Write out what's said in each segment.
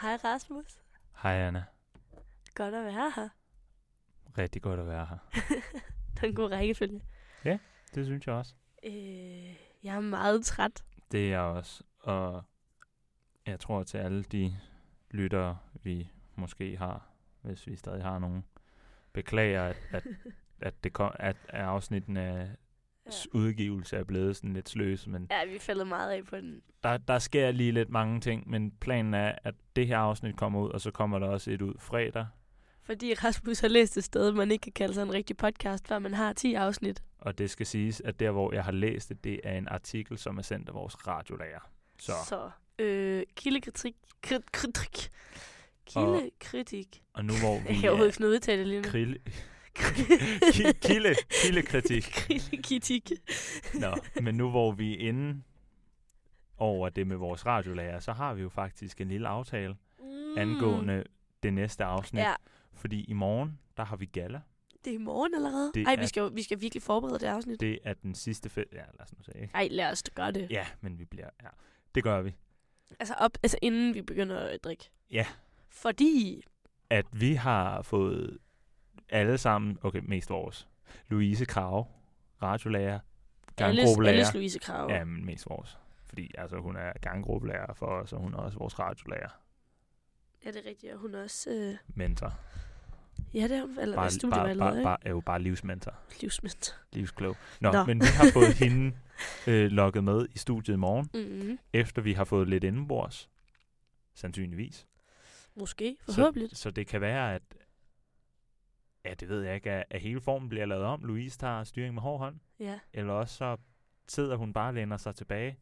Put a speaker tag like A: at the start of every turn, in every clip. A: Hej Rasmus.
B: Hej Anna.
A: Godt at være her.
B: Rigtig godt at være her.
A: Det er en god rækkefølge.
B: Det synes jeg også.
A: Øh, jeg er meget træt.
B: Det er jeg også. Og jeg tror til alle de lyttere, vi måske har, hvis vi stadig har nogen, beklager, at, at, at, det kom, at at afsnitten af
A: Ja.
B: udgivelse er blevet sådan lidt sløs, men
A: Ja, vi faldet meget af på den.
B: der, der sker lige lidt mange ting, men planen er, at det her afsnit kommer ud, og så kommer der også et ud fredag,
A: Fordi Rasmus har læst et sted, man ikke kan kalde sig en rigtig podcast, før man har 10 afsnit.
B: og det skal siges, at der, hvor jeg har læst det, det er en artikel, som er sendt af vores radiolager. Så,
A: Så øh, kildekritik. Krit, kritik. Kildekritik.
B: og nu hvor
A: Jeg
B: vi
A: kan overhovedet ikke sådan udtale det lige nu.
B: krille, ki- kilde, kildekritik,
A: Kildekritik.
B: Nå, men nu hvor vi er inde over det med vores radiolærer, så har vi jo faktisk en lille aftale
A: Mm.
B: mm. angående det næste afsnit.
A: Ja,
B: Fordi i morgen, der har vi gala.
A: det er i morgen allerede.
B: Det
A: Nej,
B: er-
A: vi, skal, jo- vi skal virkelig forberede det afsnit.
B: Det er den sidste fest. Ja, lad os nu sige. ikke?
A: Ej, lad os da gøre det.
B: Ja, men vi bliver... Ja, det gør vi.
A: Altså, op, altså inden vi begynder at drikke.
B: Ja.
A: Fordi
B: At vi har fået alle sammen... Okay, mest vores. Louise Krave, radiolærer,
A: alles,
B: gangruppelærer.
A: alles Louise Krav.
B: Ja, men mest vores. Fordi altså, hun er gangruppelærer for os, og hun er også vores radiolærer.
A: Ja, det er rigtigt. Og hun er også... Øh,
B: Mentor.
A: ja, det er hun. Eller bare,
B: Bare, bare,
A: studievejleder,
B: bare,
A: ikke?
B: bare, er jo bare livsmentor.
A: Livsmænd.
B: livsklog. Nå,
A: Nå.
B: Nå. men vi har fået hende øh, lukket med i studiet i morgen,
A: Mm-hmm.
B: efter vi har fået lidt indenbords, sandsynligvis.
A: Måske. Forhåbentlig.
B: Så, så det kan være, at, ja, det ved jeg ikke, at, at hele formen bliver lavet om. Louise tager styring med hård hånd,
A: Ja.
B: eller også så sidder hun bare og læner sig tilbage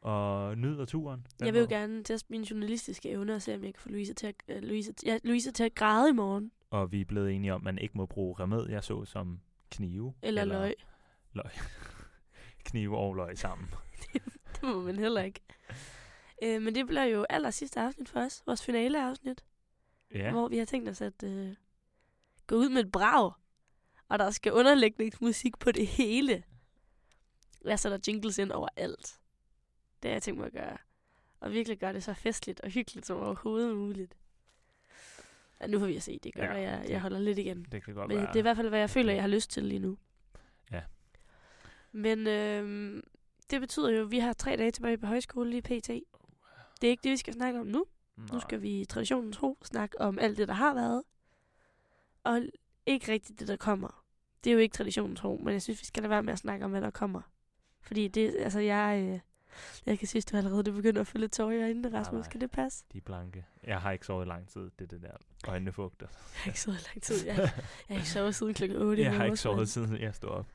B: og nyder turen. Hvem
A: Jeg vil jo
B: ved?
A: gerne teste mine journalistiske evner og se, om jeg kan få Louise til at, øh, Louise, ja, Louise til at græde i morgen.
B: Og vi er blevet enige om, at man ikke må bruge remedier, så som knive.
A: Eller, eller løg.
B: Knive og løg sammen.
A: Det må man heller ikke. Øh, men det bliver jo aller sidste afsnit for os. Vores finaleafsnit. ja.
B: Ja,
A: hvor vi har tænkt os at øh, gå ud med et brag, og der skal underlægningsmusik på det hele. Jeg sætter jingles ind overalt. Det har jeg tænkt mig at gøre. Og virkelig gøre det så festligt og hyggeligt som overhovedet muligt. Ja, nu får vi at se. Det gør,
B: Ja,
A: ja, jeg,
B: det-
A: jeg holder lidt igen.
B: det kan godt
A: Men
B: være.
A: det er i hvert fald, hvad jeg føler, jeg har lyst til lige nu.
B: Ja.
A: Men øh, det betyder jo, at vi har tre dage tilbage på højskole lige
B: Oh,
A: pt. Det er ikke det, vi skal snakke om nu. Nu skal vi i traditionen tro snakke om alt det, der har været. Og ikke rigtigt det, der kommer. Det er jo ikke traditionen tro, men jeg synes, vi skal lade være med at snakke om, hvad der kommer. Fordi det, altså jeg, øh, jeg kan synes, du allerede det begynder at fylde lidt tårer i øjnene,
B: Nej,
A: Rasmus.
B: nej.
A: Kan det passe?
B: De er blanke. Jeg har ikke sovet i lang tid. Det er det der øjnefugter.
A: Jeg har ikke sovet lang tid. Jeg, jeg har ikke sovet siden klokken 8. i
B: jeg har ikke
A: morges, mand.
B: sovet siden jeg stod op.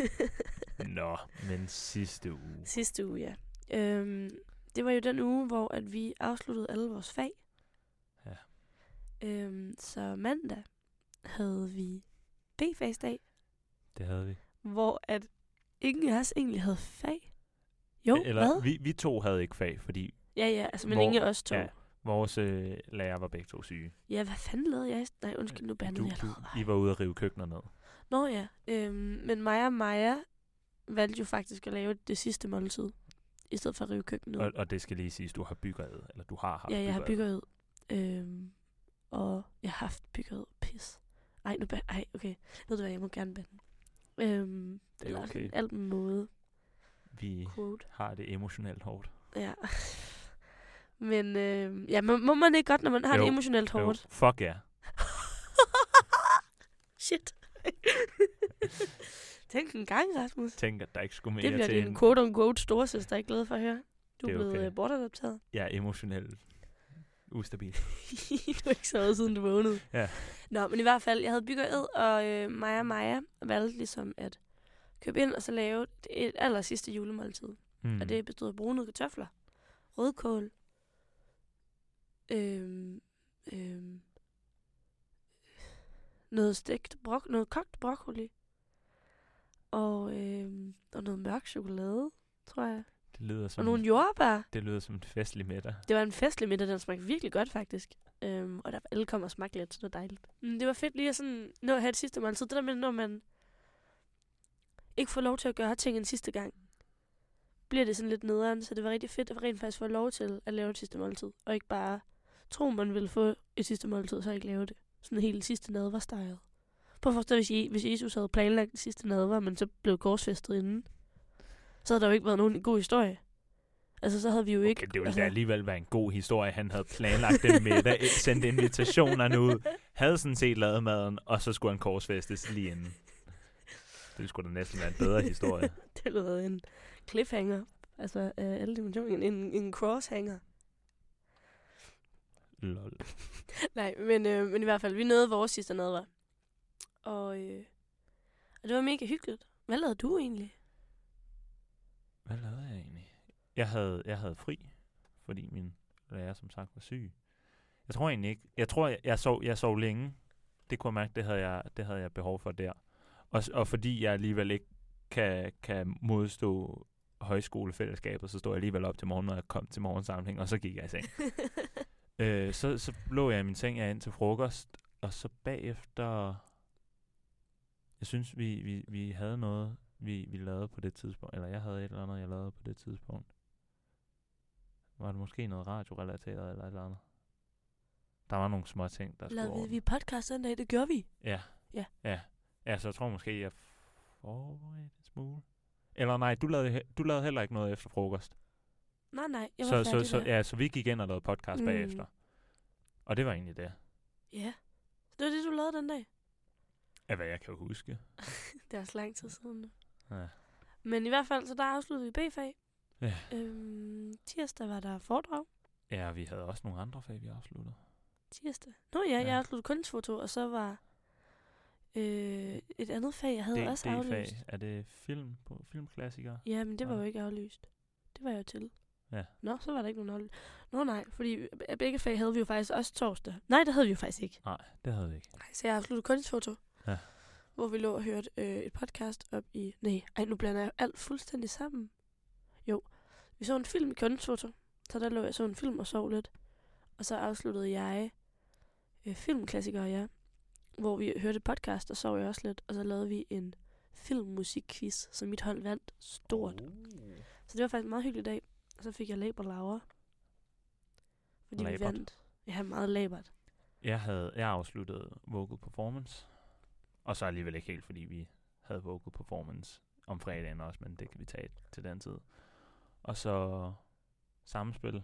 B: Nå, men sidste uge.
A: Sidste uge, ja. Øhm, det var jo den uge, hvor at vi afsluttede alle vores fag.
B: Ja.
A: Øhm, så mandag havde vi B-fagsdag.
B: Det havde vi.
A: hvor at ingen af os egentlig havde fag. Jo,
B: E- Eller
A: hvad?
B: Vi, vi to havde ikke fag, fordi
A: Ja, ja, altså, men
B: Hvor-
A: ingen af os to. Ja.
B: ja. vores øh, lærer var begge to syge.
A: ja, hvad fanden lavede jeg? i- Nej, undskyld, nu bandede
B: Du,
A: jeg
B: du,
A: allerede.
B: I var ude at rive køkkener ned.
A: Nå ja, øhm, men Maja og Maja valgte jo faktisk at lave det sidste måltid, i stedet for at rive køkkenet. ud.
B: Og, og det skal lige siges, du har byggeriet, eller du har haft
A: Ja, jeg har
B: byggeriet.
A: bygget ud. Øhm, og jeg har haft bygget ud. Pis. Ej, nu ba- Ej, okay. Ved du hvad, jeg må gerne bande. Øhm,
B: Det er
A: eller
B: okay.
A: sådan Alt med måde.
B: Vi
A: Quote.
B: har det emotionelt hårdt.
A: Ja. Men øh, ja, må, må man ikke godt, når man har jo.
B: Jo,
A: det emotionelt
B: Jo,
A: hårdt?
B: Fuck ja.
A: Shit. Tænk en gang, Rasmus.
B: Tænk, at der ikke skulle mere
A: Det bliver
B: til
A: din quote-unquote storesøster ikke glad for at høre. Du er
B: Det er
A: blevet
B: okay.
A: okay. bortadopteret.
B: Jeg er emotionelt ustabil.
A: du har ikke sovet, siden du vågnede.
B: Ja.
A: Nå, men i hvert fald, jeg havde byggeriet, og øh, Maja og Maja valgte ligesom at købe ind og så lave et aller sidste julemåltid. Mm.
B: Mm.
A: Og det bestod af brune kartofler, rødkål, øhm, øhm, noget stegt brok, noget kogt broccoli, og, øhm, og noget mørk chokolade, tror jeg.
B: det, lyder
A: Og
B: som,
A: nogle jordbær.
B: det lyder som en festlig middag.
A: Det var en festlig middag, den smagte virkelig godt faktisk. Øhm, og der alle kom og smagte lidt, så det var dejligt. Mm, det var fedt lige at sådan, nå at have det sidste måltid. Det der med, når man ikke får lov til at gøre ting en sidste gang, bliver det sådan lidt nederen. Så det var rigtig fedt at rent faktisk få lov til at lave det sidste måltid. Og ikke bare tro, man ville få et sidste måltid, så ikke lave det. Sådan hele sidste nadver stejet. Prøv at forstå, hvis, I, hvis Jesus havde planlagt den sidste nadver, men så blev korsfæstet inden, så havde der jo ikke været nogen god historie. Altså, så havde vi jo
B: Okay,
A: ikke...
B: det ville
A: altså,
B: da alligevel være en god historie. Han havde planlagt den middag, sendt invitationerne ud, havde sådan set lavet maden, og så skulle han korsfæstes lige inden. Det skulle da næsten være en bedre historie.
A: det lyder en cliffhanger. Altså, øh, alle dimensioner. En, en crosshanger.
B: Lol.
A: Nej, men, øh, men i hvert fald, vi nåede vores sidste nadver. Og, øh, og det var mega hyggeligt. Hvad lavede du egentlig?
B: Hvad lavede jeg egentlig? Jeg havde, jeg havde fri, fordi min lærer som sagt var syg. Jeg tror egentlig ikke. Jeg tror, jeg, jeg, sov, jeg sov længe. Det kunne jeg mærke, det havde jeg, det havde jeg behov for der. Og, s- og fordi jeg alligevel ikke kan, kan modstå højskolefællesskabet, så stod jeg alligevel op til morgen, når jeg kom til morgensamling, og så gik jeg i seng. øh, så, så lå jeg i min seng jeg ind til frokost, og så bagefter... Jeg synes, vi, vi, vi havde noget, vi, vi lavede på det tidspunkt, eller jeg havde et eller andet, jeg lavede på det tidspunkt. Var det måske noget radiorelateret eller et eller andet? Der var nogle små ting, der skulle
A: Lavede
B: ordnes.
A: vi podcast den dag? Det gjorde vi.
B: Ja.
A: Ja.
B: Ja. Ja, så jeg tror måske, jeg forberedte en smule. Eller nej, du lavede, he- du lavede heller ikke noget efter frokost.
A: Nej, nej, jeg var
B: så,
A: færdig
B: så, så,
A: der.
B: ja, så vi gik ind og lavede podcast
A: Mm.
B: mm. bagefter. Og det var egentlig det,
A: ja. Det var det, du lavede den dag.
B: af hvad jeg kan huske.
A: Det er også lang tid siden. nu.
B: Ja.
A: Men i hvert fald, så der afsluttede vi B-fag.
B: Ja.
A: Øhm, tirsdag var der foredrag.
B: ja, og vi havde også nogle andre fag, vi afsluttede.
A: Tirsdag. Nå ja, ja. jeg
B: Ja.
A: afsluttede kunstfoto, og så var øh, et andet fag, jeg havde
B: D-
A: også
B: D-fag.
A: aflyst.
B: Er det film på filmklassikere?
A: Ja, men det var
B: Nå.
A: jo ikke aflyst. Det var jeg jo til.
B: Ja.
A: Nå, så var der ikke nogen aflyst. Nå nej, fordi be- begge fag havde vi jo faktisk også torsdag. Nej, det havde vi jo faktisk ikke.
B: Nej, det havde vi ikke.
A: Nej, så jeg afsluttede kunstfoto.
B: Ja.
A: Hvor vi lå og hørte øh, et podcast op i... Nej, ej, nu blander jeg alt fuldstændig sammen. Jo, vi så en film i kunstfoto. Så der lå jeg og så en film og sov lidt. Og så afsluttede jeg øh, filmklassikere, ja. Hvor vi hørte et podcast, og sov jeg også lidt. Og så lavede vi en filmmusikquiz, som mit hold vandt stort.
B: Uh.
A: Så det var faktisk en meget hyggelig dag. Og så fik jeg labert laver. Fordi
B: Labert.
A: vi vandt. Jeg havde meget labert.
B: Jeg, havde, jeg afsluttede vocal performance. Og så alligevel ikke helt, fordi vi havde vocal performance om fredagen også, men det kan vi tage til den tid. Og så samspil.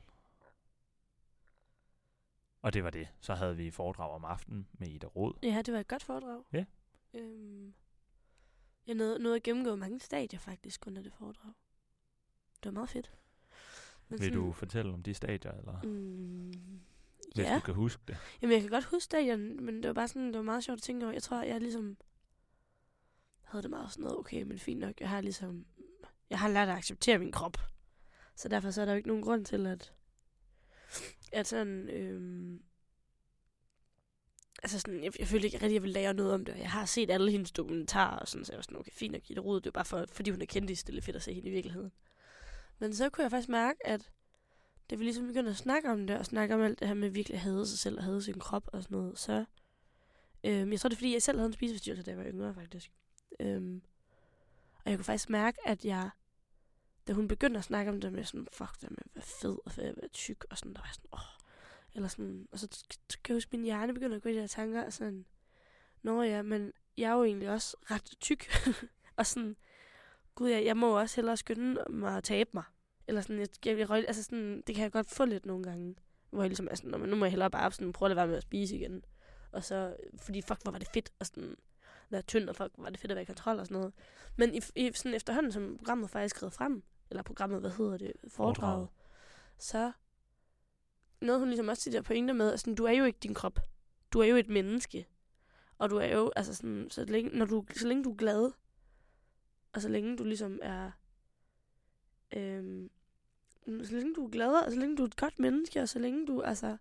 B: Og det var det. Så havde vi foredrag om aftenen med Ida Rod.
A: Ja, det var et godt foredrag.
B: Ja.
A: Øhm, jeg nåede, nåede at gennemgå mange stadier faktisk under det foredrag. Det var meget fedt. Men
B: Vil du fortælle om de stadier, eller
A: Mm,
B: hvis
A: ja.
B: du kan huske det?
A: Jamen, jeg kan godt huske stadion, men det var bare sådan, det var meget sjovt at tænke over. Jeg tror, jeg ligesom havde det meget sådan noget, okay, men fint nok, jeg har ligesom, jeg har lært at acceptere min krop. Så derfor så er der jo ikke nogen grund til, at, at sådan, øhm, altså sådan, jeg, jeg følte ikke rigtig, at jeg ville lære noget om det. og Jeg har set alle hendes dokumentarer, og sådan, så jeg var sådan, okay, fint nok, Gitte Rode, det er bare for, fordi hun er kendis, det er lidt fedt at se hende i virkeligheden. Men så kunne jeg faktisk mærke, at da vi ligesom begyndte at snakke om det, og snakke om alt det her med virkelig at hade sig selv og hade sin krop og sådan noget, så... Øhm, jeg tror, det er, fordi jeg selv havde en spiseforstyrrelse, da jeg var yngre, faktisk. Øhm, og jeg kunne faktisk mærke, at jeg... Da hun begyndte at snakke om det med sådan, fuck det med at være fed og at være tyk, og sådan, der var jeg sådan, åh... Eller sådan, og så, så kan jeg huske, at min hjerne begynder at gå i de her tanker, og sådan... Nå ja, men jeg er jo egentlig også ret tyk. og sådan, gud, jeg, jeg må jo også hellere skynde mig at tabe mig. Eller sådan, jeg, jeg, jeg røg, altså sådan, det kan jeg godt få lidt nogle gange. Hvor jeg ligesom er sådan, "Nå, men nu må jeg hellere bare sådan, prøve at lade være med at spise igen. Og så, fordi fuck, hvor var det fedt, og sådan, være tynd, og fuck, hvor var det fedt at være i kontrol og sådan noget. Men i, i sådan efterhånden, som programmet faktisk skred frem, eller programmet, hvad hedder det, foredraget,
B: Foredraget.
A: så nåede hun ligesom også til de der pointer med, at sådan, du er jo ikke din krop. Du er jo et menneske. Og du er jo, altså sådan, så længe, når du, så længe du er glad, og så længe du ligesom er, øhm, så længe du er glad, og så længe du er et godt menneske, og så længe du altså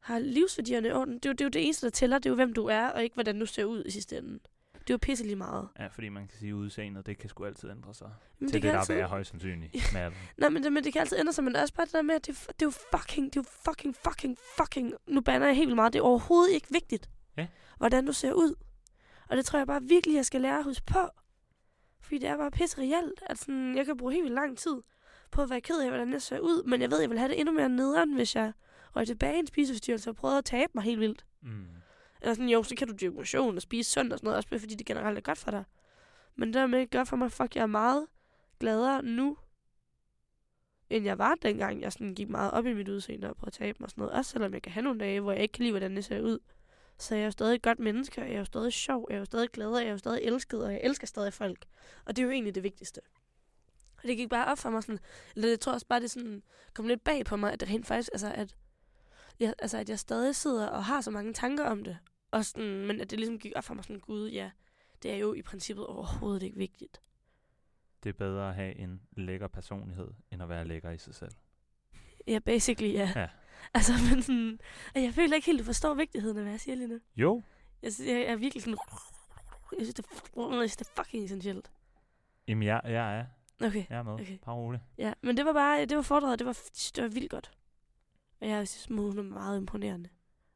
A: har livsværdierne i orden, det er, jo, det er jo det eneste, der tæller, det er jo hvem du er, og ikke hvordan du ser ud i sidste ende. Det er jo pisse lige meget.
B: Ja, fordi man kan sige, at udseendet, det kan sgu altid ændre sig.
A: Men
B: til det,
A: kan
B: der
A: altid-
B: er højst sandsynligt med alderen.
A: Nej, men det, men det kan altid ændre sig, men det er også bare det der med, at det, det er jo fucking, det er jo fucking, fucking, fucking, nu banner jeg helt vildt meget, det er overhovedet ikke vigtigt,
B: Ja.
A: hvordan du ser ud. Og det tror jeg bare virkelig, jeg skal lære at huske på. Fordi det er bare pisse reelt, at sådan, jeg kan bruge helt vildt lang tid på at være ked af, hvordan jeg ser ud, men jeg ved, jeg vil have det endnu mere nederen, hvis jeg røg tilbage i en spiseforstyrrelse og prøvede at tabe mig helt vildt.
B: Mm.
A: Eller sådan, jo, så kan du dyrke motion og spise sundt og sådan noget, også fordi det generelt er godt for dig. Men det der med, det gør for mig, fuck, jeg er meget gladere nu, end jeg var dengang. Jeg sådan gik meget op i mit udseende og prøvede at tabe mig og sådan noget. Også selvom jeg kan have nogle dage, hvor jeg ikke kan lide, hvordan det ser ud. Så jeg er jo stadig et godt menneske, og jeg er jo stadig sjov, og jeg er jo stadig glad, og jeg er jo stadig elsket, og jeg elsker stadig folk. Og det er jo egentlig det vigtigste. Og det gik bare op for mig sådan, eller jeg tror også bare, det sådan kom lidt bag på mig, at det rent faktisk, altså at jeg, altså, at jeg stadig sidder og har så mange tanker om det. Og sådan, men at det ligesom gik op for mig sådan, gud, ja, det er jo i princippet overhovedet ikke vigtigt.
B: Det er bedre at have en lækker personlighed, end at være lækker i sig selv.
A: Ja, basically, ja.
B: Ja.
A: Altså, men sådan, at jeg føler ikke helt, du forstår vigtigheden af, hvad jeg siger lige nu.
B: Jo,
A: Jeg, synes, jeg er virkelig sådan, jeg synes, det, er- jeg synes, det er fucking essentielt.
B: jamen jeg, jeg er,
A: Okay,
B: jeg er med.
A: Okay.
B: Okay. Bare rolig.
A: ja, men det var bare, det var foredraget, det var, f- det var vildt godt. Og jeg synes, hun er meget imponerende.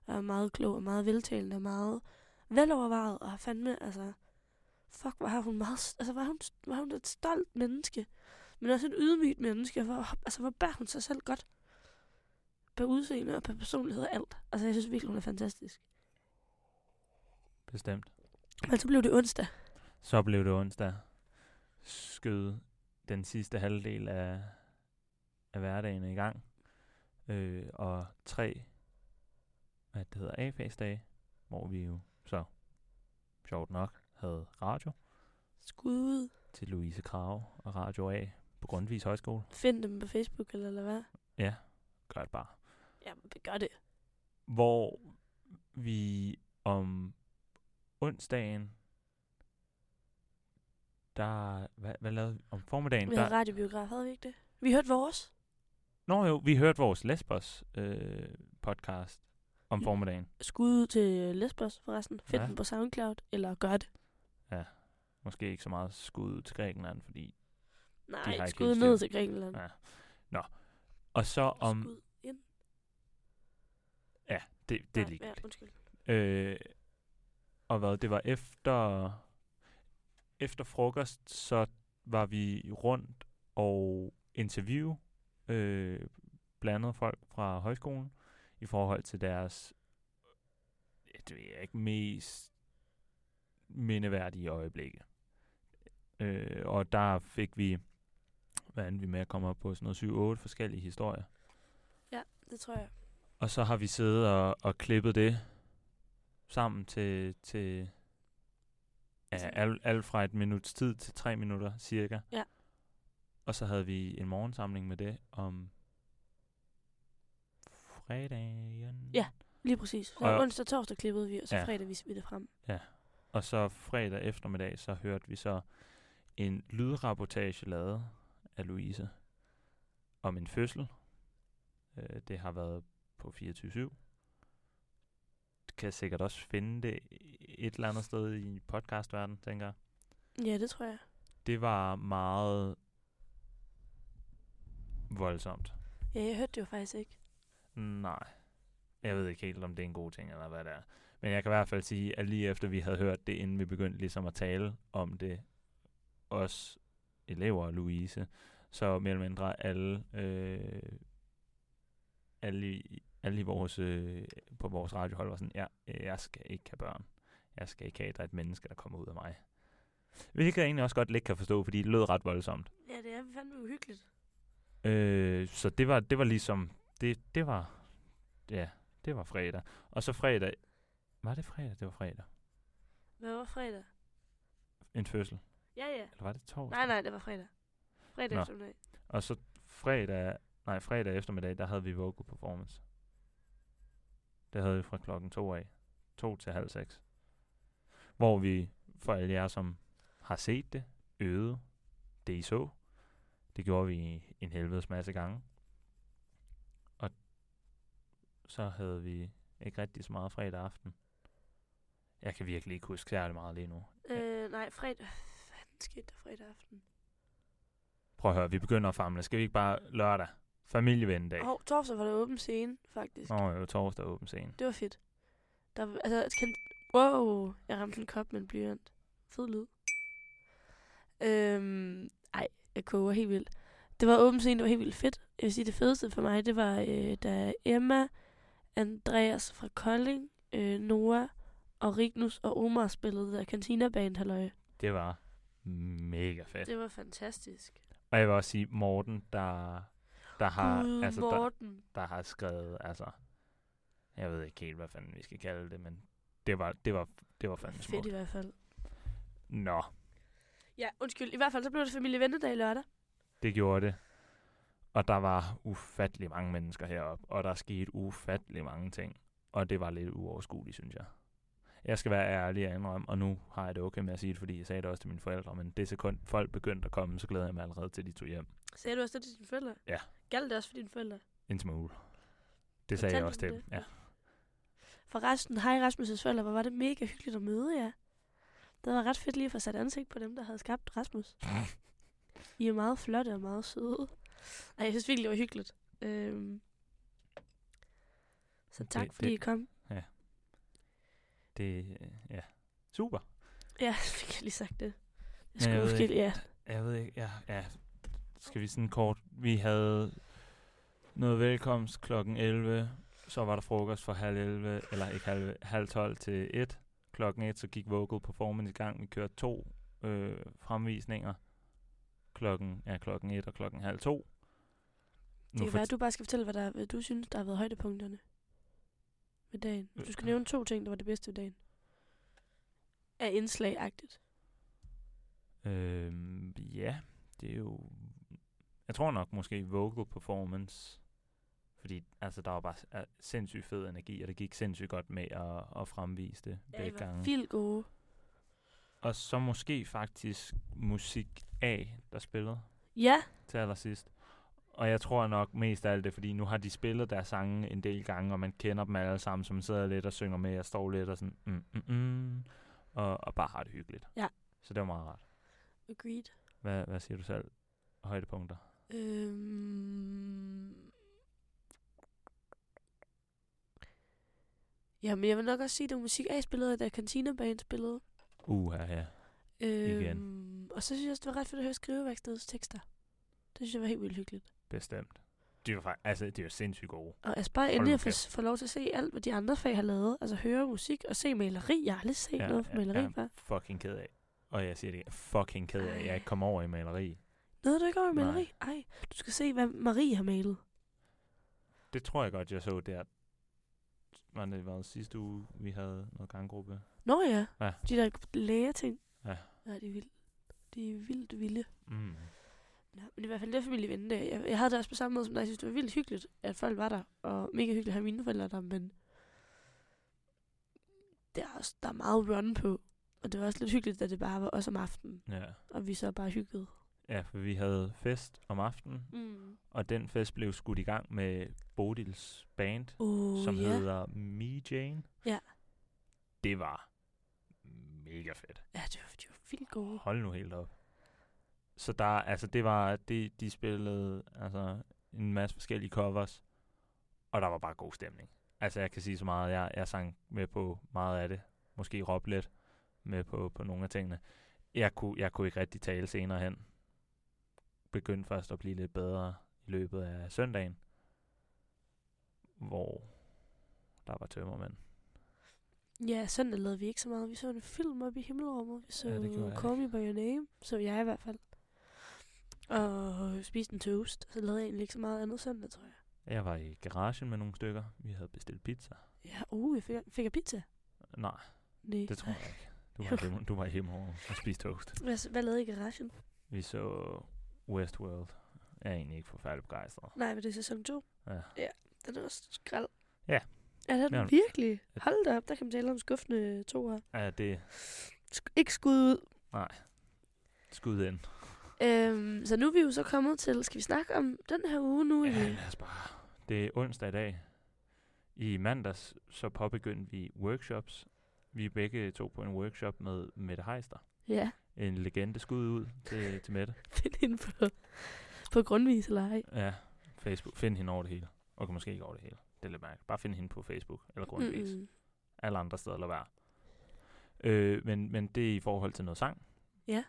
A: Og meget klog, og meget veltalende, og meget velovervejet, og har fandme, altså, fuck, var hun meget, s- altså, var hun, var hun et stolt menneske, men også et ydmygt menneske, og hvor, altså, hvor bærer hun sig selv godt på udseende og på personlighed og alt. Altså, jeg synes virkelig, hun er fantastisk.
B: Bestemt.
A: Men så blev det onsdag.
B: Så blev det onsdag. Skød den sidste halvdel af, af hverdagen i gang. Øh, og tre, hvad det hedder, A-fagsdage, hvor vi jo så, sjovt nok, havde radio
A: Skud ud.
B: til Louise Krave og Radio A på Grundtvigs Højskole.
A: Find dem på Facebook, eller, eller hvad?
B: Ja, gør det bare.
A: Ja, gør det.
B: hvor vi om onsdagen, der, hvad, hvad lavede vi? Om formiddagen,
A: Vi havde
B: der,
A: radiobiograf, havde vi ikke det? Vi hørte vores.
B: nå jo, vi hørte vores Lesbos øh, podcast om
A: Ja.
B: formiddagen.
A: Skud ud til Lesbos, forresten. Find
B: Ja.
A: den på SoundCloud, eller gør det.
B: Måske ikke så meget skud til Grækenland, fordi, har
A: Nej,
B: ikke
A: skud
B: helt
A: ned
B: styr.
A: til Grækenland.
B: Ja, og så om,
A: Skud ind.
B: det, det er
A: Nej,
B: ligegyldigt.
A: Ja, undskyld.
B: Øh, og hvad, det var efter, efter frokost, så var vi rundt og interview øh, blandede folk fra højskolen i forhold til deres, ja, det ved jeg ikke, mest mindeværdige øjeblikke. Øh, og der fik vi, hvad endte vi med at komme op på, sådan noget 7-8 forskellige historier.
A: Det tror jeg.
B: Og så har vi siddet og, og klippet det sammen til, til ja, al, alt fra et minuts tid til tre minutter cirka.
A: Ja.
B: Og så havde vi en morgensamling med det om fredagen.
A: Ja. Lige præcis. Så
B: Og
A: og
B: jeg-
A: onsdag og torsdag klippede vi, og så
B: Ja.
A: ja. fredag viste vi det frem.
B: Og så fredag eftermiddag, så hørte vi så en lydrapportage lavet af Louise om en fødsel. Øh, det har været på 24-7. Du kan sikkert også finde det et eller andet sted i podcastverdenen, tænker jeg.
A: Ja, det tror jeg.
B: Det var meget voldsomt.
A: Ja, jeg hørte det jo faktisk ikke.
B: Nej. Jeg ved ikke helt, om det er en god ting, eller hvad det er. Men jeg kan i hvert fald sige, at lige efter vi havde hørt det, inden vi begyndte ligesom at tale om det, os elever og Louise, så mere eller mindre alle, øh, alle, i- alle i vores, øh, på vores radiohold var sådan, ja, jeg skal ikke have børn. Jeg skal ikke have, at der er et menneske, der kommer ud af mig. Hvilket jeg egentlig også godt lidt kan forstå, fordi det lød ret voldsomt.
A: Ja, det er fandme uhyggeligt.
B: Øh, så det var, det var ligesom, det, det var, ja, det var fredag. Og så fredag, var det fredag? Det var fredag.
A: Hvad var fredag?
B: En fødsel.
A: Ja, ja.
B: Eller var det torsdag?
A: Nej, nej, det var fredag. Fredag
B: Nå.
A: eftermiddag.
B: Og så fredag, nej, fredag eftermiddag, der havde vi vocal performance. Det havde vi fra klokken to af. To til halv seks. Hvor vi, for alle jer, som har set det, øvede det, I så. Det gjorde vi en helvedes masse gange. Og så havde vi ikke rigtig så meget fredag aften. Jeg kan virkelig ikke huske særlig meget lige nu. Ja.
A: Øh, nej, fredag. Hvad skete der fredag aften?
B: Prøv at høre, vi begynder at famle. Skal vi ikke bare lørdag? Familievendag.
A: Hov, torsdag var der åben scene, faktisk.
B: Nå, jo, torsdag er åben scene.
A: Det var fedt. Der, var- altså, kan, wow, jeg ramte en kop med en blyant. Fed lyd. Øhm, ej, jeg koger helt vildt. Det Det var åbent scene, det var helt vildt fedt. Jeg vil sige, det fedeste for mig, det var, øh, da Emma, Andreas fra Kolding, øh, Noah og Rignus og Omar spillede det der kantinerband, halløj.
B: Det var mega fedt.
A: Det var fantastisk.
B: Og jeg vil også sige, Morten, der, der har,
A: Gud,
B: altså, der,
A: Morten.
B: der har skrevet, altså, jeg ved ikke helt, hvad fanden vi skal kalde det, men det var, det var, det var fandme
A: Fedt
B: smukt.
A: i hvert fald.
B: Nå,
A: Ja, undskyld. I hvert fald så blev det familie Ventedag i lørdag.
B: det gjorde det. Og der var ufattelig mange mennesker heroppe, og der skete ufattelig mange ting. Og det var lidt uoverskueligt, synes jeg. Jeg skal være ærlig og indrømme, og nu har jeg det okay med at sige det, fordi jeg sagde det også til mine forældre, men det sekund folk begyndte at komme, så glæder jeg mig allerede til, at de tog hjem.
A: Sagde du også det til dine forældre?
B: Ja.
A: Galt det også for dine forældre?
B: En smule. Det sagde jeg
A: Fortalte
B: også
A: du
B: til dem.
A: det?
B: Ja.
A: For resten, hej Rasmus' forældre, hvor var det mega hyggeligt at møde jer. Det var ret fedt lige at få sat ansigt på dem, der havde skabt Rasmus. I er meget flotte og meget søde. Ej, jeg synes virkelig, det var hyggeligt. Øhm. Så
B: Det-
A: tak, det,
B: det-
A: fordi I kom.
B: Det, øh, ja. Super.
A: Ja, fik jeg lige sagt det.
B: Men
A: Jeg skulle
B: jeg ved
A: måske,
B: ikke-
A: ja.
B: Jeg ved ikke, ja, ja. Skal vi sådan kort? Vi havde noget velkomst klokken 11, så var der frokost fra halv 11, eller ikke halv, halv 12 til 1. Klokken 1, så gik vocal performance i gang. Vi kørte to øh, fremvisninger. Klokken, ja, klokken 1 og klokken halv 2.
A: Det kan være, at du bare skal fortælle, hvad, der, hvad du synes, der har været højdepunkterne ved dagen.
B: Øh,
A: Du skal nævne to ting, der var det bedste ved dagen. Af indslagagtigt.
B: Øhm, ja, det er jo... Jeg tror nok måske vocal performance. Fordi altså, der var bare s- er- sindssygt fed energi, og det gik sindssygt godt med at, at fremvise det
A: I
B: begge
A: var
B: gange.
A: vildt gode.
B: Og så måske faktisk musik A, der spillede
A: Ja,
B: til allersidst. Og jeg tror nok mest af alt det, fordi nu har de spillet deres sange en del gange, og man kender dem alle sammen, som sidder lidt og synger med og står lidt og sådan, mm, mm, mm, og, og bare har det hyggeligt.
A: Ja.
B: Så det var meget rart.
A: agreed.
B: Hvad, hvad siger du selv? Højdepunkter?
A: Øhm... Jamen, jeg vil nok også sige, at det var musik A spillede, da kantinerbanen spillede.
B: Uha, ja.
A: Øhm,
B: Igen.
A: Og så synes jeg også, det var ret fedt at høre skriveværkstedets tekster. Det synes jeg var helt vildt hyggeligt.
B: Bestemt. De var, fakt- altså, de var sindssygt gode.
A: Og altså bare
B: Hold
A: endelig
B: nu
A: at få,
B: kæft.
A: få lov til at se alt, hvad de andre fag har lavet. Altså høre musik og se maleri. Jeg har aldrig set ja, noget fra maleri
B: jeg
A: før.
B: er fucking ked af. Og jeg siger det, jeg er fucking ked af, at jeg ikke kom over i maleri.
A: Noget, du ikke over i
B: Nej.
A: maleri? Ej, du skal se, hvad Marie har malet.
B: Det tror jeg godt, jeg så der. Var det var sidste uge, vi havde noget ganggruppe?
A: Nå ja,
B: Ja.
A: de der lægeting.
B: Ja.
A: Ja, de er vildt. De er vildt vilde.
B: Mm.
A: Ja, men i hvert fald det familie ventedag. Jeg, jeg havde det også på samme måde som dig. Jeg synes, det var vildt hyggeligt, at folk var der. Og mega hyggeligt at have mine forældre der, men der er, også, der er meget run på. Og det var også lidt hyggeligt, da det bare var os om aftenen.
B: Ja.
A: Og vi så bare hyggede.
B: ja, for vi havde fest om aftenen,
A: Mm.
B: og den fest blev skudt i gang med Bodils band,
A: Uh,
B: som
A: ja.
B: hedder Me Jane.
A: Ja.
B: Det var mega fedt.
A: Ja, det var, de var vildt gode.
B: Hold nu helt op. Så der, altså det var, de, de spillede altså, en masse forskellige covers, og der var bare god stemning. Altså jeg kan sige så meget, jeg, jeg sang med på meget af det, måske råbte lidt med på, på nogle af tingene. Jeg kunne, jeg kunne ikke rigtig tale senere hen. Begyndte først at blive lidt bedre i løbet af søndagen, hvor der var tømmermænd.
A: Ja, søndag lavede vi ikke så meget. Vi så en film op i himmelrummet. Vi så
B: Ja,
A: ja,
B: det gjorde jeg
A: Call Me By Your Name, så jeg i hvert fald. Og spiste en toast. Så lavede jeg egentlig ikke så meget andet søndag, tror jeg.
B: Jeg var i garagen med nogle stykker. Vi havde bestilt pizza.
A: Ja, uh, jeg fik, fik jeg pizza?
B: Nej,
A: Nej.
B: det tror jeg ikke. Du var,
A: Okay.
B: hjemme, du var hjemme over og spiste toast.
A: Hvad, hvad lavede I i garagen?
B: Vi så Westworld. Jeg er egentlig ikke forfærdelig begejstret.
A: Nej, men det er sæson 2.
B: Ja.
A: ja den er også skrald.
B: Ja.
A: Ja, den er
B: Ja.
A: den virkelig. Hold da op, der kan man tale om skuffende toer.
B: Er det
A: Sk- ikke skud ud.
B: skud ind?
A: Øhm, så nu er vi jo så kommet til, skal vi snakke om den her uge nu?
B: Ja,
A: Emil?
B: lad os bare. Det er onsdag i dag. I mandags så påbegyndte vi workshops. Vi er begge to på en workshop med Mette Heister.
A: ja.
B: En legende skud ud til, til Mette.
A: Find hende på, på grundvis eller ej.
B: Ja, Facebook. Find hende over det hele. Okay, måske ikke over det hele. Det er lidt mærkeligt. Bare find hende på Facebook eller Grundvis.
A: Mm-mm.
B: alle andre steder lade være. Øh, men, men det er i forhold til noget sang.
A: Ja.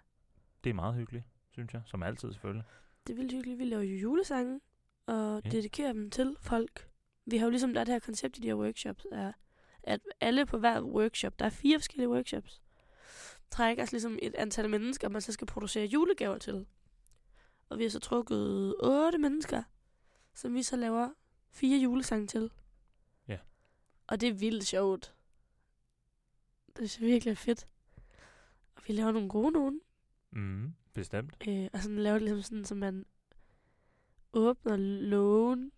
B: Det er meget hyggeligt, synes jeg. Som altid selvfølgelig.
A: Det er vildt hyggeligt. Vi laver jo julesange og
B: Ja.
A: yeah. dedikerer dem til folk. Vi har jo ligesom der er det her koncept i de her workshops, er, at alle på hver workshop, der er fire forskellige workshops, trækker altså ligesom et antal mennesker, man så skal producere julegaver til. Og vi har så trukket otte mennesker, som vi så laver fire julesange til.
B: Ja.
A: Og det er vildt sjovt. Det er virkelig fedt. Og vi laver nogle gode nogen.
B: Mm, bestemt.
A: Øh, og sådan laver det ligesom sådan, så man åbner lågen.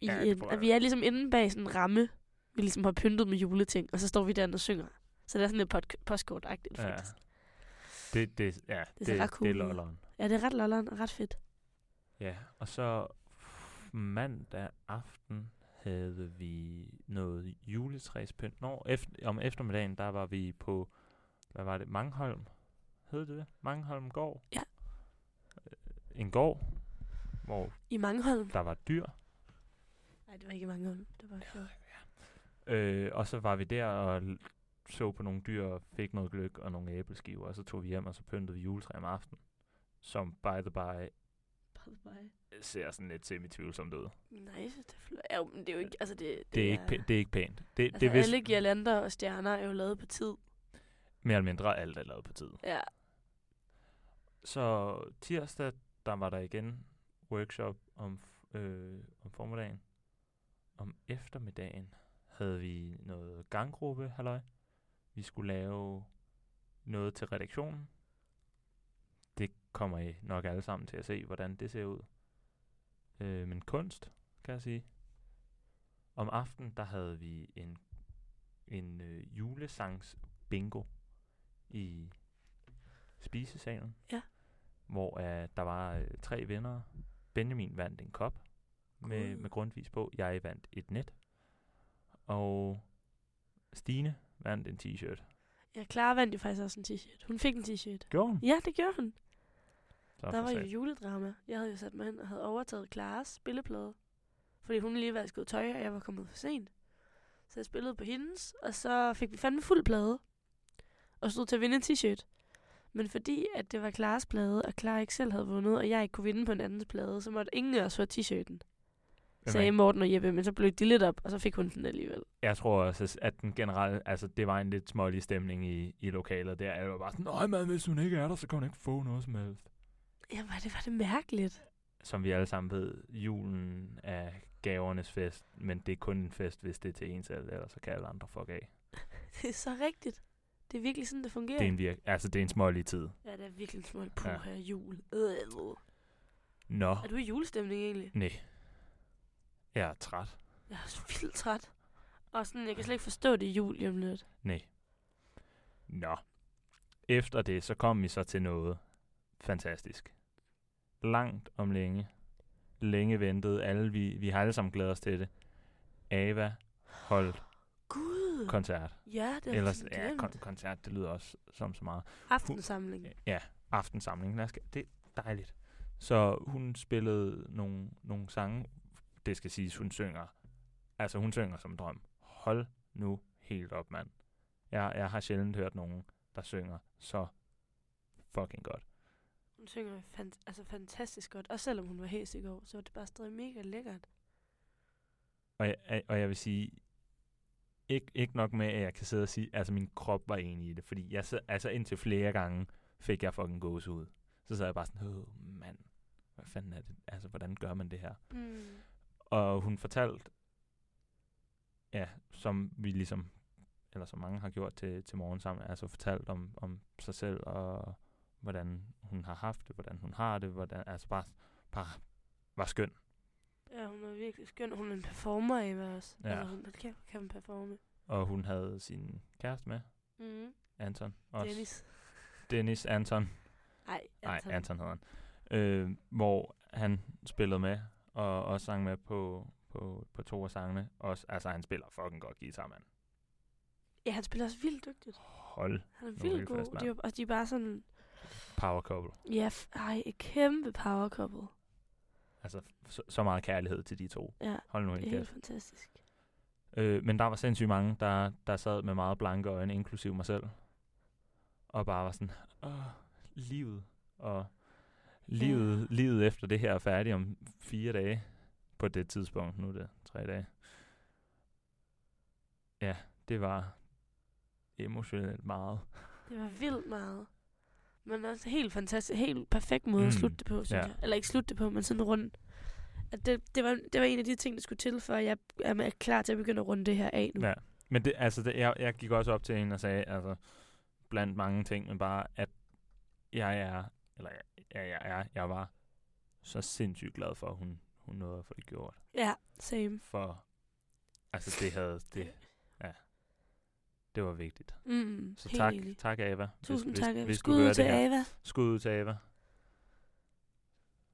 A: I
B: Ja,
A: ja,
B: det
A: en,
B: tror jeg.
A: at vi er ligesom inde bag sådan en ramme, vi ligesom har pyntet med juleting, og så står vi derinde og synger. Så det er sådan lidt pod- postkort-agtigt,
B: Ja.
A: faktisk.
B: Det, det, ja, det,
A: ser
B: det,
A: ret cool
B: det er
A: ud.
B: lolleren.
A: Ja. ja, det er ret lolleren og ret fedt.
B: Ja, og så f- mandag aften havde vi noget juletræspynt. Nå, efter, om eftermiddagen, der var vi på, hvad var det, Mangholm? Hed det det? Mangholm gård?
A: Ja.
B: Øh, En gård, hvor
A: I Mangholm.
B: der var dyr.
A: Nej, det var ikke i Mangholm. Det var sjovt.
B: Øh, og så var vi der og l- så på nogle dyr og fik noget gløk og nogle æbleskiver, og så tog vi hjem, og så pyntede vi juletræ om aftenen. Som by the by ser sådan lidt semi-tvivlsomt ud.
A: Nej, det er flot. Ja, jo, men det er jo ikke... Altså, det, det,
B: Det er, ikke, pæ- det er ikke pænt. Det,
A: Altså,
B: det er vist
A: alle girlander og stjerner er jo lavet på tid.
B: mere eller mindre alt er lavet på tid.
A: Ja.
B: Så tirsdag, der var der igen workshop om, f- øh, om formiddagen. Om eftermiddagen havde vi noget ganggruppe, halløj. Vi skulle lave noget til redaktionen. Det kommer I nok alle sammen til at se, hvordan det ser ud. Øh, men kunst, kan jeg sige. Om aftenen, der havde vi en, en øh, julesangs bingo i spisesalen hvor uh, der var uh, tre vinder. Benjamin vandt en kop med,
A: Gud.
B: med grundvis på. Jeg vandt et net. Og Stine vandt en t-shirt.
A: Ja, Clara vandt jo faktisk også en t-shirt. Hun fik en t-shirt.
B: Gjorde hun?
A: Ja, det gjorde hun.
B: Så
A: Der
B: for
A: var jo
B: satan.
A: juledrama. Jeg havde jo sat mig hen og havde overtaget Klares spilleplade. Fordi hun lige vaskede tøj, og jeg var kommet for sent. Så jeg spillede på hendes, og så fik vi fandme fuld plade. Og stod til at vinde en t-shirt. Men fordi at det var Klares plade, og Clara ikke selv havde vundet, og jeg ikke kunne vinde på en andens plade, så måtte ingen af os få t-shirten.
B: Hvem er
A: Sagde
B: ikke-
A: Morten og Jeppe, men så blev de lidt op, og så fik hun den alligevel.
B: Altså, Jeg tror også, at den generelle, altså det var en lidt smålig stemning i, i lokalet der. Jeg var bare sådan, nej mand, hvis hun ikke er der, så kan hun ikke få noget som helst.
A: Ja, var det, var det mærkeligt.
B: Som vi alle sammen ved, julen er gavernes fest, men det er kun en fest, hvis det er til en selv, ellers så kan alle andre fuck af.
A: det er så rigtigt. Det er virkelig sådan, det fungerer.
B: Det er en, virk- altså, det er en smålig tid.
A: Ja, det er virkelig en smule
B: Ja.
A: puha jul. Øh.
B: Nå,
A: Er du i julestemning egentlig?
B: nej. Jeg er træt.
A: Jeg er så vildt træt. Og sådan, jeg kan slet ikke forstå det er jul lige om lidt.
B: Nej. Nå. Efter det, så kom vi så til noget fantastisk. Langt om længe. Længe ventet. Alle, vi, vi har alle sammen glædet os til det. Ava holdt
A: Gud.
B: koncert.
A: Ja, det er
B: Ellers,
A: Ellers,
B: ja,
A: glemt.
B: kon- koncert, det lyder også som så meget.
A: Aftensamling.
B: Øh, Ja, aftensamling. Lad os, ga- det er dejligt. Så hun spillede nogle, nogle sange. Det skal siges, hun synger. Altså, hun synger som en drøm. Hold nu helt op, mand. Jeg, jeg har sjældent hørt nogen, der synger så fucking godt.
A: Hun synger fan- altså fantastisk godt. Og selvom hun var hæs i går, så var det bare stadig mega lækkert.
B: Og jeg, jeg- og jeg vil sige, ikke, ikke nok med, at jeg kan sidde og sige, altså min krop var enig i det, fordi jeg sad, altså indtil flere gange fik jeg fucking gås ud. Så sad jeg bare sådan, åh mand, hvad fanden er det? Altså, hvordan gør man det her?
A: Mm.
B: Og hun fortalte, ja, som vi ligesom, eller som mange har gjort til, til morgen sammen, altså fortalt om, om sig selv, og hvordan hun har haft det, hvordan hun har det, hvordan, altså bare, bare var skøn.
A: Ja, hun var virkelig skøn. Hun er en performer, Eva også.
B: Ja.
A: Ja. Altså, hun kan, kan hun performe.
B: Og hun havde sin kæreste med,
A: Mm.
B: Anton. Også.
A: Dennis.
B: Dennis Anton.
A: Nej,
B: Nej,
A: Anton.
B: Anton hedder han. Øh, hvor han spillede med, og også sang med på, på, på to af sangene. Også, altså, han spiller fucking godt guitar, mand.
A: Ja, han spiller også vildt dygtigt.
B: Hold
A: Han er
B: Nå,
A: vildt
B: helt fast,
A: god.
B: mand.
A: De er, og de er bare sådan...
B: power couple.
A: Ja, f- ej, et kæmpe power couple.
B: Altså, så, så meget kærlighed til de to.
A: Ja,
B: Hold nu
A: det er
B: helt
A: helt
B: kæft.
A: fantastisk.
B: Øh, men der var sindssygt mange, der, der sad med meget blanke øjne, inklusive mig selv. Og bare var sådan, åh, livet. Og Livet, livet efter det her er færdigt om fire dage på det tidspunkt. Nu er det tre dage. Ja, det var emotionelt meget.
A: Det var vildt meget. Men også helt fantastisk, helt perfekt måde mm. at slutte det på, synes
B: ja.
A: ja. jeg. Eller ikke slutte det på, men sådan rundt. At det, det, var, det var en af de ting, der skulle til, for at jeg er er klar til at begynde at runde det her af nu.
B: Ja. Men det, altså, det, jeg, jeg gik også op til hende og sagde, altså, blandt mange ting, men bare, at jeg er, eller jeg, jeg, jeg, jeg, jeg var så sindssygt glad for, at hun, hun nåede at få det gjort.
A: Ja, same.
B: For, altså, det havde, det, ja, det var vigtigt.
A: Mm,
B: Så
A: helt
B: tak,
A: enig.
B: tak Ava.
A: Tusind
B: hvis,
A: tak.
B: Hvis,
A: Ava.
B: hvis du
A: Skud ud
B: hører
A: til
B: det her.
A: Ava.
B: Skud ud til Ava.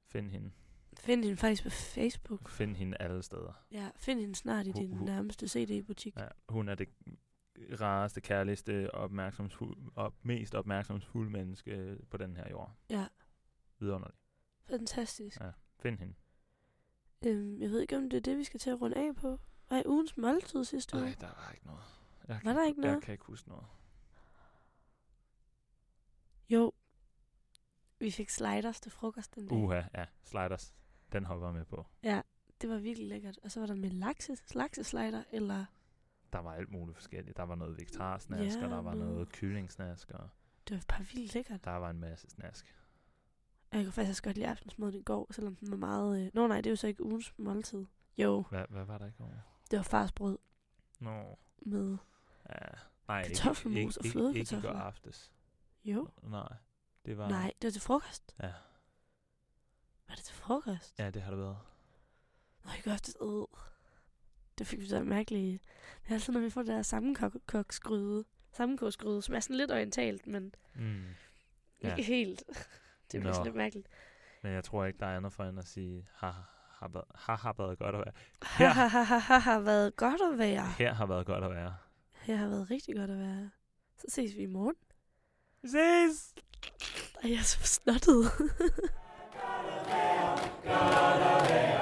B: Find hende.
A: Find hende faktisk på Facebook.
B: Find hende alle steder.
A: Ja, find hende snart i
B: Hu-
A: din
B: hu-
A: nærmeste CD-butik.
B: Ja, hun er det rareste, kærligste, opmærksomhedsfuld, op, mest opmærksomhedsfulde menneske øh, på den her jord.
A: Ja.
B: Vidunderligt.
A: Fantastisk.
B: Find hende.
A: Øhm, jeg ved ikke, om det er det, vi skal til at runde af på. Var i ugens måltid sidste uge?
B: Nej, der var ikke noget. Jeg
A: der ikke
B: Jeg
A: noget?
B: kan ikke huske noget.
A: Jo. Vi fik sliders til frokost den dag.
B: Uha, ja. Sliders. Den hopper jeg med på.
A: Det var virkelig lækkert. Og så var der med lakse, lakseslider, eller
B: Der var alt muligt forskelligt. Der var noget vegetarsnask,
A: Ja,
B: og der var
A: noget-
B: noget kyllingsnask, og
A: det var bare vildt lækkert.
B: der var en masse snask.
A: Og jeg kunne faktisk også godt lide aftensmaden i går, selvom den var meget... Øh... Nå nej, det er jo så ikke ugens måltid. Jo,
B: Hvad, hvad var der ikke over?
A: det var farsbrød
B: Nå.
A: med...
B: Ja. Nej, ikke-
A: Kartoffelmos
B: ikke,
A: og
B: ikke, ikke, ikke i går
A: flødekartofler.
B: aftes.
A: Jo.
B: Nej, det var...
A: Nej, det var til frokost.
B: Ja.
A: Var det til frokost?
B: Ja, det har det været.
A: Nå, i går aftes... Øh. Det fik vi så mærkeligt. Det er altid, når vi får det der sammenkogsgryde. Sammenkogsgryde, som er sådan lidt orientalt, men
B: Mm. Ja.
A: ja. ikke helt. det
B: Nå.
A: bliver sådan lidt mærkeligt.
B: Men jeg tror ikke, der er andet for end at sige, har har været, har, har været godt at være.
A: Her har været godt at være.
B: Her har været godt at være.
A: Her har været rigtig godt at være. Så ses vi i morgen.
B: Ses!
A: Ej, jeg er så snottet.
C: Gotta have.